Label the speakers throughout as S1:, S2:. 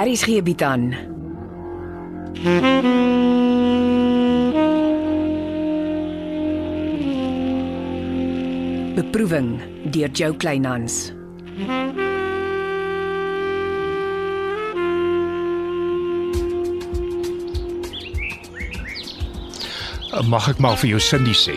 S1: Aries gee bied aan. Beproeving deur Jo Kleinhans.
S2: Eh, Mag ek maar vir jou Cindy sê?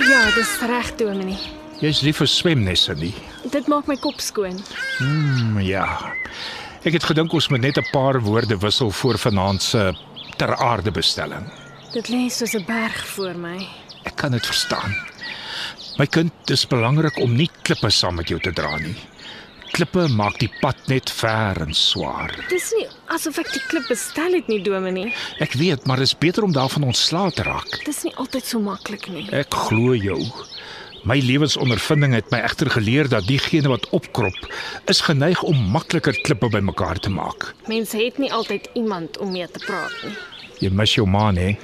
S3: Ja, dis reg, Dominee.
S2: Jy's lief vir swemnes, Cindy.
S3: Dit maak my kop skoon.
S2: Mm, ja. Ek het gedink ons moet net 'n paar woorde wissel voor vanaand se ter aarde bestelling.
S3: Dit lê soos 'n berg voor my.
S2: Ek kan dit verstaan. My kind, dis belangrik om nie klippe saam met jou te dra nie. Klippe maak die pad net ver en swaar.
S3: Dis nie asof ek die klip bestel het nie, Dominee.
S2: Ek weet, maar dit is beter om daarvan ontslae te raak.
S3: Dis nie altyd so maklik nie.
S2: Ek glo jou. My lewensondervinding het my egter geleer dat diegene wat opkrop, is geneig om makliker klippe bymekaar te maak.
S3: Mense het nie altyd iemand om mee te praat nie. Ah,
S2: Jy mis jou ma, hè?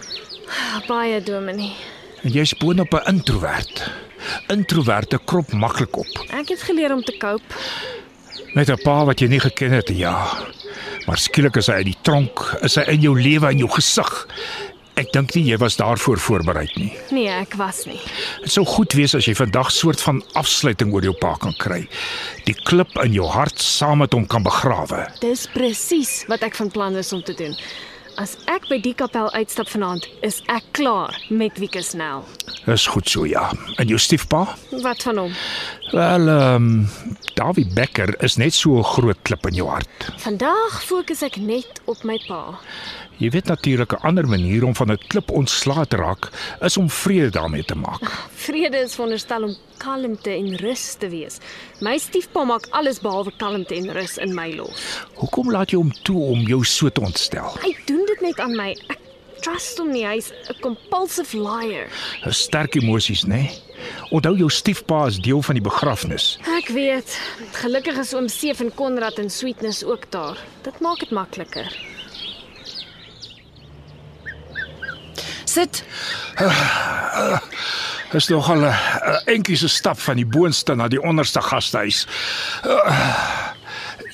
S3: Baie, Dominee.
S2: En jy's boonop 'n introwert. Introwerte krop maklik op.
S3: Ek het geleer om te cope.
S2: Met 'n pa wat jy nie geken het, ja. Maar skielik is hy uit die tronk, is hy in jou lewe en jou gesig. Ek dink nie jy was daarvoor voorberei nie.
S3: Nee, ek was nie.
S2: Dit sou goed wees as jy vandag soort van afsluiting oor jou pa kan kry. Die klip in jou hart saam met hom kan begrawe.
S3: Dis presies wat ek van plan is om te doen. As ek by die kapel uitstap vanaand, is ek klaar met Wieke Snell.
S2: Is goed so ja. En jou stiefpa?
S3: Wat van hom?
S2: Wel, ehm um, Davie Becker is net so 'n groot klip in jou hart.
S3: Vandag fokus ek net op my pa.
S2: Jy weet natuurlik 'n ander manier om van 'n klip ontslae te raak is om vrede daarmee te maak.
S3: Vrede is veronderstel om kalmte en rus te wees. My stiefpa maak alles behalwe kalmte en rus in my los.
S2: Hoekom laat jy hom toe om jou so te ontstel?
S3: Hy doen dit net aan my. Ek trust hom nie. Hy's 'n compulsive liar.
S2: Dis Sterk emosies, né? Nee? Onthou jou stiefpa is deel van die begrafnis.
S3: Ek weet. Gelukkig is oom Seef en Konrad en Sweetness ook daar. Dit maak dit makliker.
S1: Sit.
S2: Is nogal 'n uh, entjie se stap van die boonste na die onderste gastehuis. Uh,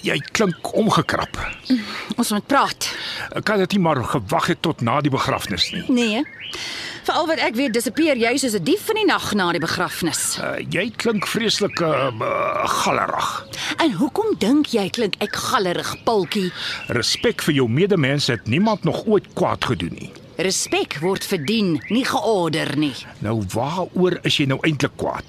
S2: jy klink omgekrap.
S4: Ons moet praat.
S2: Kan dit nie maar gewag het tot na die begrafnis nie.
S4: Nee. Veral wat ek weet, dissipeer jy soos 'n dief van die nag na die begrafnis.
S2: Uh, jy klink vreeslik uh, uh, gallerig.
S4: En hoekom dink jy klink ek gallerig, Pultjie?
S2: Respek vir jou medemens het niemand nog ooit kwaad gedoen nie.
S4: Respek word verdien, nie georder nie.
S2: Nou waaroor is jy nou eintlik kwaad?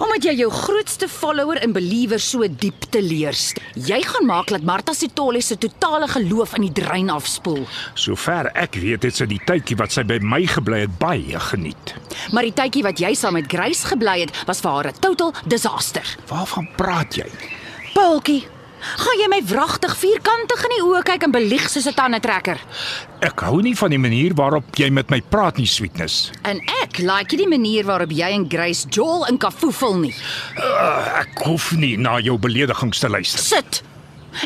S4: Omdat jy jou grootste follower en believer so diep te leers. Jy gaan maak dat Martha Sitole se totale geloof in die drein afspoel.
S2: Sover ek weet, het sy die tydjie wat sy by my gebly het baie geniet.
S4: Maar die tydjie wat jy saam met Grace gebly het, was vir haar 'n total disaster.
S2: Waarvan praat jy?
S4: Pultjie, gaan jy my wragtig vierkantig in die oë kyk en belieg soos 'n tandetrekker?
S2: Ek hou nie van die manier waarop jy met my praat nie, Sweetness.
S4: En ek like nie die manier waarop jy en Grace Joel in kafoefel nie.
S2: Uh, ek hoef nie na jou beledigings te luister.
S4: Sit.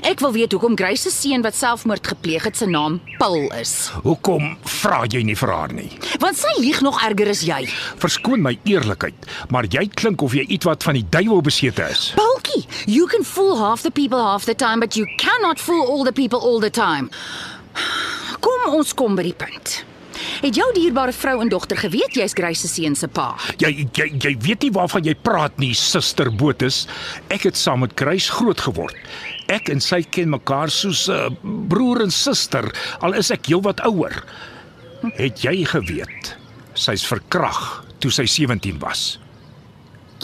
S4: Ek wil weet hoekom Grace se seun wat selfmoord gepleeg het, se naam Paul is.
S2: Hoekom vra jy nie vir haar nie?
S4: Want sy lieg nog erger as jy.
S2: Verskoon my eerlikheid, maar jy klink of jy ietwat van die duiwel besete is.
S4: Paultjie, you can fool half the people half the time, but you cannot fool all the people all the time. Kom ons kom by die punt. Het jou dierbare vrou en dogter geweet jy's Grace se seun se pa?
S2: Jy jy jy weet nie waarvan jy praat nie, suster Botus. Ek het saam met Kruis groot geword. Ek en sy ken mekaar soos 'n uh, broer en suster, al is ek heelwat ouer. Het jy geweet sy's verkrag toe sy 17 was?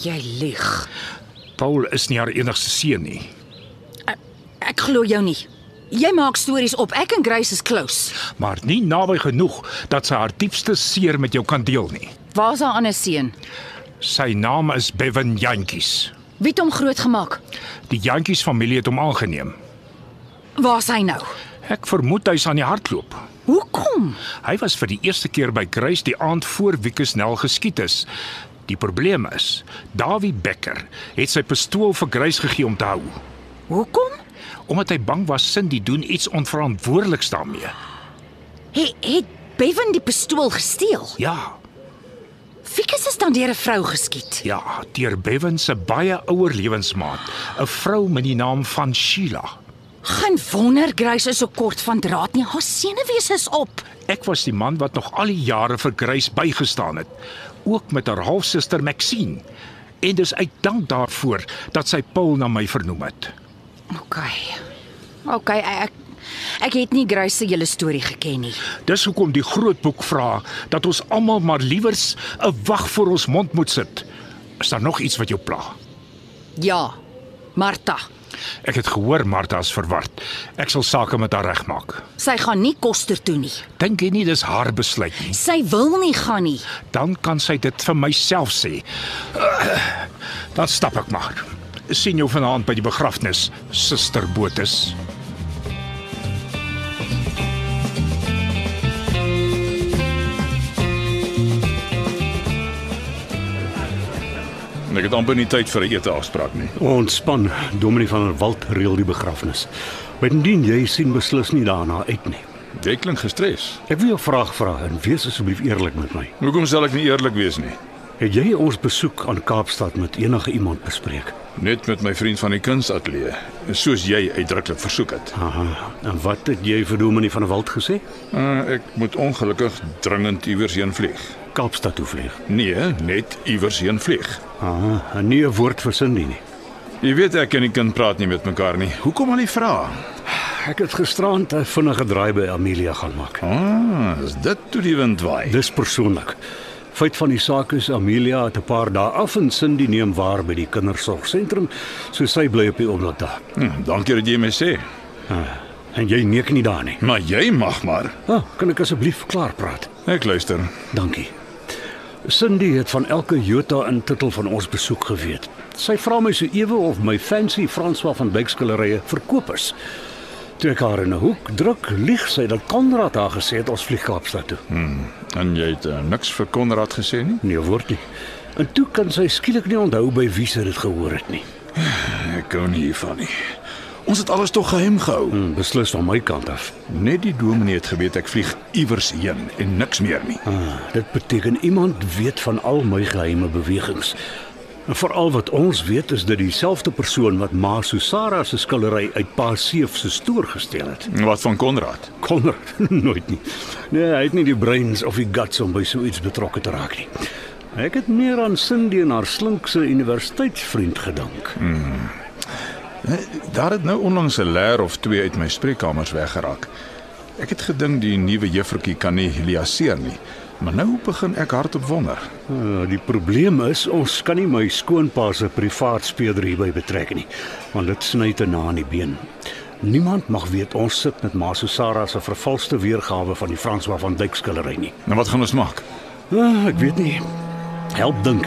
S4: Jy lieg.
S2: Paul is nie haar enigste seun nie.
S4: Ek glo jou nie. Jy maak stories op. Ek en Grace is close.
S2: maar nie naby genoeg dat sy haar diepste seer met jou kan deel nie.
S4: Waar's haar ander seun?
S2: Sy naam is Bevan Jantjies.
S4: Wie het hom grootgemaak?
S2: Die Jantjies familie het hom aangeneem.
S4: Waar's hy nou?
S2: Ek vermoed hy's aan die hardloop.
S4: Hoekom?
S2: Hy was vir die eerste keer by Kruis die aand voor Wiekesnel geskiet is. Die probleem is, Dawie Becker het sy pistool vir Kruis gegee om te hou,
S4: Hoekom?
S2: omdat hy bang was Cindy doen iets onverantwoordeliks daarmee.
S4: Hy het Bevan die pistool gesteel.
S2: Ja,
S4: Fikus is dan deur 'n vrou geskiet.
S2: ja, deur Bevan se baie ouer lewensmaat, 'n vrou met die naam van Sheila.
S4: Geen wonder Grace is so kort van draad nie. Haar senuwees is op.
S2: Ek was die man wat nog al die jare vir Grace bygestaan het, ook met haar halfsuster Maxine. En dis uit dank daarvoor dat sy Paul na my vernoem het.
S4: OK. OK, ek ek het nie Grace se hele storie geken nie.
S2: Dis hoekom die groot boek vra dat ons almal maar liewers 'n wag voor ons mond moet sit. Is daar nog iets wat jou pla?
S4: Ja. Martha,
S2: Ek het gehoor Martha is verward. Ek sal sake met haar regmaak.
S4: sy gaan nie koster toe nie.
S2: Dink jy nie dis haar besluit nie?
S4: Sy wil nie gaan nie.
S2: Dan kan sy dit vir myself sê. Dan stap ek maar. sien jou vanaand by die begrafnis, suster Botus.
S5: En Ek het amper nie tyd vir 'n ete afspraak nie.
S6: Ontspan, Dominee van der Walt reël die begrafnis. Bydien jy sien beslis nie daarna uit nie.
S5: Jy klink gestres.
S6: Ek wil jou 'n vraag vra en wees asseblief eerlik met my.
S5: Hoekom sal ek nie eerlik wees nie?
S6: Het jy ons besoek aan Kaapstad met enige iemand bespreek?
S5: Net met my vriend van die kunsateljee, soos jy uitdruklik versoek het.
S6: Aha. En wat het jy vir Dominee van der Walt gesê?
S5: Uh, ek moet ongelukkig dringend iewers heen vlieg.
S6: Kaapstad toe vlieg.
S5: Nee, net iewers heen vlieg.
S6: Aha, en nie 'n woord versin nie nie.
S5: Jy weet ek en die kind praat nie met mekaar nie. Hoekom al die vrae?
S6: Ek het gisterand 'n vinnige draai by Amelia gaan maak.
S5: Ah, is dit toe die wind waai?
S6: Dis persoonlik. Feit van die saak is Amelia het 'n paar dae af en sin die neem waar by die kindersorgsentrum, so sy bly op die oomblik daar.
S5: Hm, dankie dat jy my sê.
S6: Ah, en jy neek nie daar nie.
S5: Maar jy mag maar.
S6: Ah, kan ek asseblief klaar praat?
S5: Ek luister.
S6: Dankie. Cindy het van elke jota in titel van ons besoek geweet. Sy vra my so ewe of my fancy François van Wyk skilderye verkoop is. Toe ek haar in 'n hoek druk, lieg sy dat Konrad haar gesê het ons vlieg Kaapstad toe.
S5: En jy het uh, niks vir Konrad gesê nie?
S6: Nee, word nie. En toe kan sy skielik nie onthou by wie sy dit gehoor het nie.
S5: Ek hou nie hiervan nie. Ons het alles tog geheim gehou.
S6: Hmm, beslis van my kant af.
S5: Net die dominee het geweet ek vlieg iewers heen en niks meer nie.
S6: Ah, dit beteken iemand weet van al my geheime bewegings. En veral wat ons weet is dat dieselfde persoon wat Ma Susara se skildery uit Pa Seef se stoor gesteel het,
S5: Wat van Konrad?
S6: Connor nooit nie. Nee, hy het nie die breins of die guts om by so iets betrokke te raak nie. Ek het meer aan Cindy en haar slinkse universiteitsvriend gedink.
S5: Daar het nou onlangs 'n leer of twee uit my spreekkamers weggeraak. Ek het gedink die nuwe juffroukie kan nie liaseer nie, maar nou begin ek hardop wonder.
S6: Uh, die probleem is ons kan nie my skoonpa se privaat speeder hierby betrek nie, want dit sny te na aan die been. Niemand mag weet ons sit met Ma Susara se vervalste weergawe van die François van Dyk skildery nie.
S5: Nou wat gaan ons maak?
S6: Uh, ek weet nie. Help dink.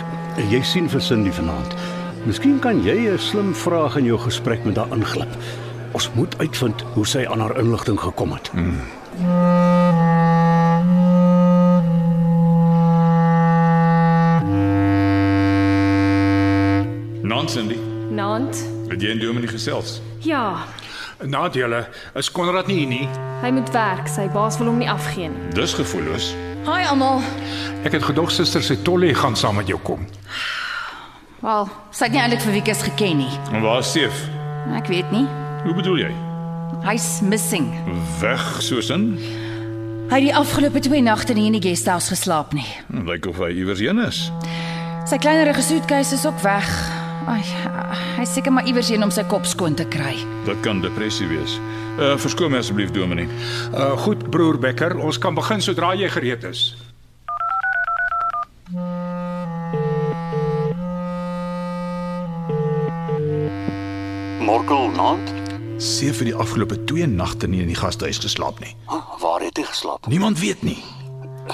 S6: Jy sien vir Cindy vanaand. Miskien kan jy 'n slim vraag in jou gesprek met haar inglip. Ons moet uitvind hoe sy aan haar inligting gekom het.
S7: Hm.
S5: Nonsendy.
S8: Naand.
S5: Het jy en dominee gesels?
S8: Ja,
S2: Nadele, is Konrad nie hier nie.
S8: hy moet werk. Sy baas wil hom nie afgee nie.
S5: Dis gevoelloos.
S4: Hi almal.
S2: Ek het gedog suster Setolli gaan saam met jou kom.
S4: Wel, sy het nie eintlik vir Wiekus geken nie.
S5: En waar is Seef?
S4: Ek weet nie.
S5: Hoe bedoel jy?
S4: Hy's missing.
S5: Weg soos in?
S4: Hy het die afgelope 2 nagte nie in die guesthouse geslaap nie.
S5: Lyk of hy iewers heen is.
S4: Sy kleinerige suitcase is ook weg. Ai, hy is seker maar iewers heen om sy kop skoon te kry.
S5: Dit kan depressie wees. Uh verskoon my asseblief dominee.
S2: Uh goed broer Becker, ons kan begin sodra jy gereed is.
S7: Morkel naand?
S5: Seef het die afgelope 2 nagte nie in die gastehuis geslaap nie.
S7: Ah, Waar het jy geslaap? Eh,
S5: Niemand weet nie.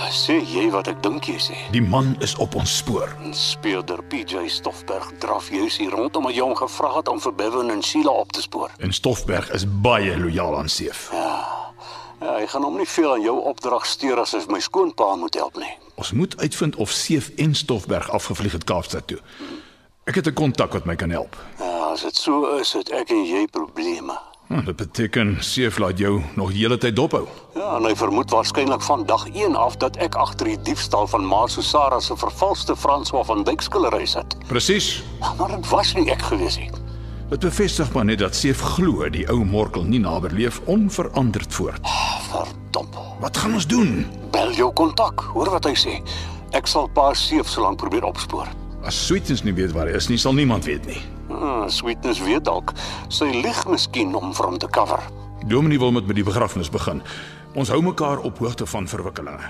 S7: Sê jy wat ek dink jy sê?
S5: Die man is op ons spoor.
S7: Speelder PJ Stoffberg draf jous hier rond om 'n jong gevra het om vir Bevan en Sheila op te spoor.
S5: En Stoffberg is baie lojaal aan Seef.
S7: Ja, hy gaan hom nie veel aan jou opdrag steur as hy my skoonpa moet help nie.
S5: Ons moet uitvind of Seef en Stoffberg afgevlieg het Kaapstad toe. Ek het 'n kontak wat my kan help.
S7: Ja, as dit so is, het ek en jy probleme.
S5: Hm, dit beteken Seef laat jou nog die hele tyd dophou.
S7: Ja, en hy vermoed waarskynlik van dag 1 af dat ek agter die diefstal van Ma Susara se vervalste François van Dyk skildery sit.
S5: Presies.
S7: Maar dit was nie ek gewees nie.
S5: Dit bevestig maar net dat Seef glo die ou Morkel nie naderleef onveranderd voort.
S7: Verdomp.
S5: Wat gaan ons doen?
S7: Bel jou kontak, hoor wat hy sê. Ek sal pa Seef so lank probeer opspoor.
S5: As Sweetens nie weet waar hy is nie, sal niemand weet nie.
S7: Ah, Sweetness weet dalk. Sy lieg miskien om vir hom te cover.
S5: Dominee wil met met die begrafnis begin. Ons hou mekaar op hoogte van verwikkelinge.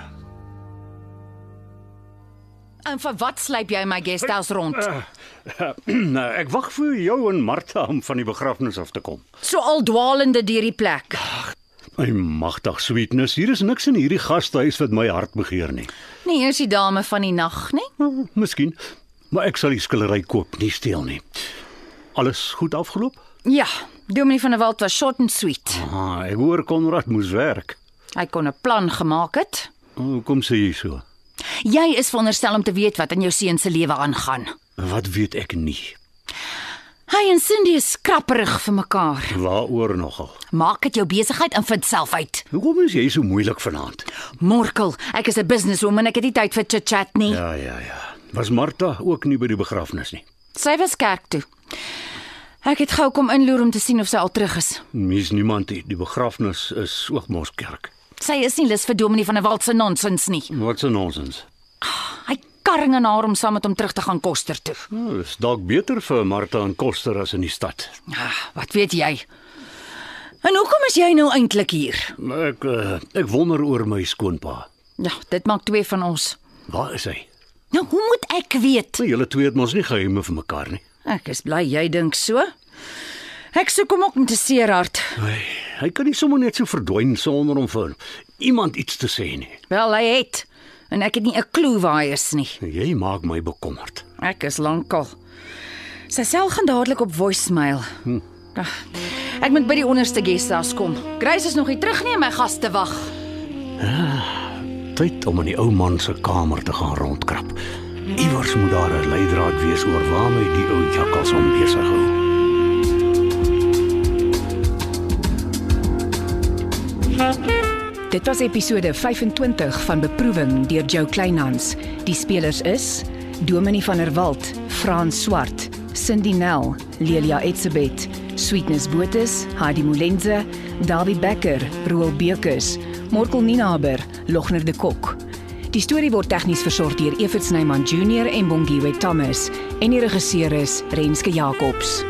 S4: En vir wat slyp jy my guesthouse rond?
S6: Nou, ek wag vir jou en Martha om van die begrafnis af te kom.
S4: So al dwaalende deur die plek.
S6: My magtig sweetness, hier is niks in hierdie gastehuis wat my hart begeer nie.
S4: Nee, is die dame van die nag, nee? nê?
S6: Hm, Miskien, maar ek sal die skillery koop, nie steel nie. Alles goed afgeloop?
S4: Ja, Dominee van der Walt was short and sweet.
S6: Ah, ek hoor Konrad moes werk.
S4: Hy kon 'n plan gemaak het.
S6: Hoekom sê jy so?
S4: Jy is veronderstel om te weet wat in jou seun se lewe aangaan.
S6: Wat weet ek nie.
S4: Hy en Cindy is skrapperig vir mekaar.
S6: Waaroor nogal?
S4: Maak dit jou besigheid en vind self uit.
S6: Hoekom is jy so moeilik vanaand?
S4: Morkel, ek is 'n businesswoman, ek het nie tyd vir chit-chat nie.
S6: Ja, ja, ja. Was Martha ook nie by die begrafnis nie?
S4: Sy was kerk toe. Ek het gou kom inloer om te sien of sy al terug is.
S6: Mis niemand nie. Die begrafnis is ook mos kerk.
S4: Sy is nie lus vir Dominee van der Walt se nonsens nie.
S6: Wat 'n nonsens.
S4: Hy karring aan haar om saam met hom terug te gaan koster toe.
S6: Nou, is dalk beter vir Martha en Koster as in die stad.
S4: Ah, wat weet jy? En hoekom is jy nou eintlik hier?
S6: Maar Ek uh, ek wonder oor my skoonpa.
S4: Ja, dit maak twee van ons.
S6: Waar is hy?
S4: Nou, hoe moet ek weet?
S6: Nou, julle twee het mos nie geheime vir mekaar nie.
S4: Ek is bly jy dink so. Ek soek hom ook met 'n seer hart.
S6: Hy, hy kan nie sommer net so verdwyn sonder om vir iemand iets te sê nie.
S4: Wel, hy het en ek het nie 'n klou waar hy is nie.
S6: Jy maak my bekommerd.
S4: Ek is lankal. Sy sel gaan dadelik op voicemail. Hm. Ek moet by die onderste guesthouse kom. Grace is nog nie terug nie en my gaste wag.
S6: Tyd om in die ou man se kamer te gaan rondkrap. Iewers moet daar 'n leidraad wees oor waarmee die ou jakkals hom besig hou.
S1: Dit was episode 25 van Beproewing deur Jo Kleinhans. Die spelers is Dominie van der Walt, Frans Swart, Cindy Nel, Lelia Etsebet, Sweetness Botus, Heidi Molenze, Dawie Becker, Roel Bekus, Morkel Ninaber, Logner de Kok. Die storie word tegnies versorg deur Evert Snyman Junior en Bongwe Thomas en die regisseur is Renske Jacobs.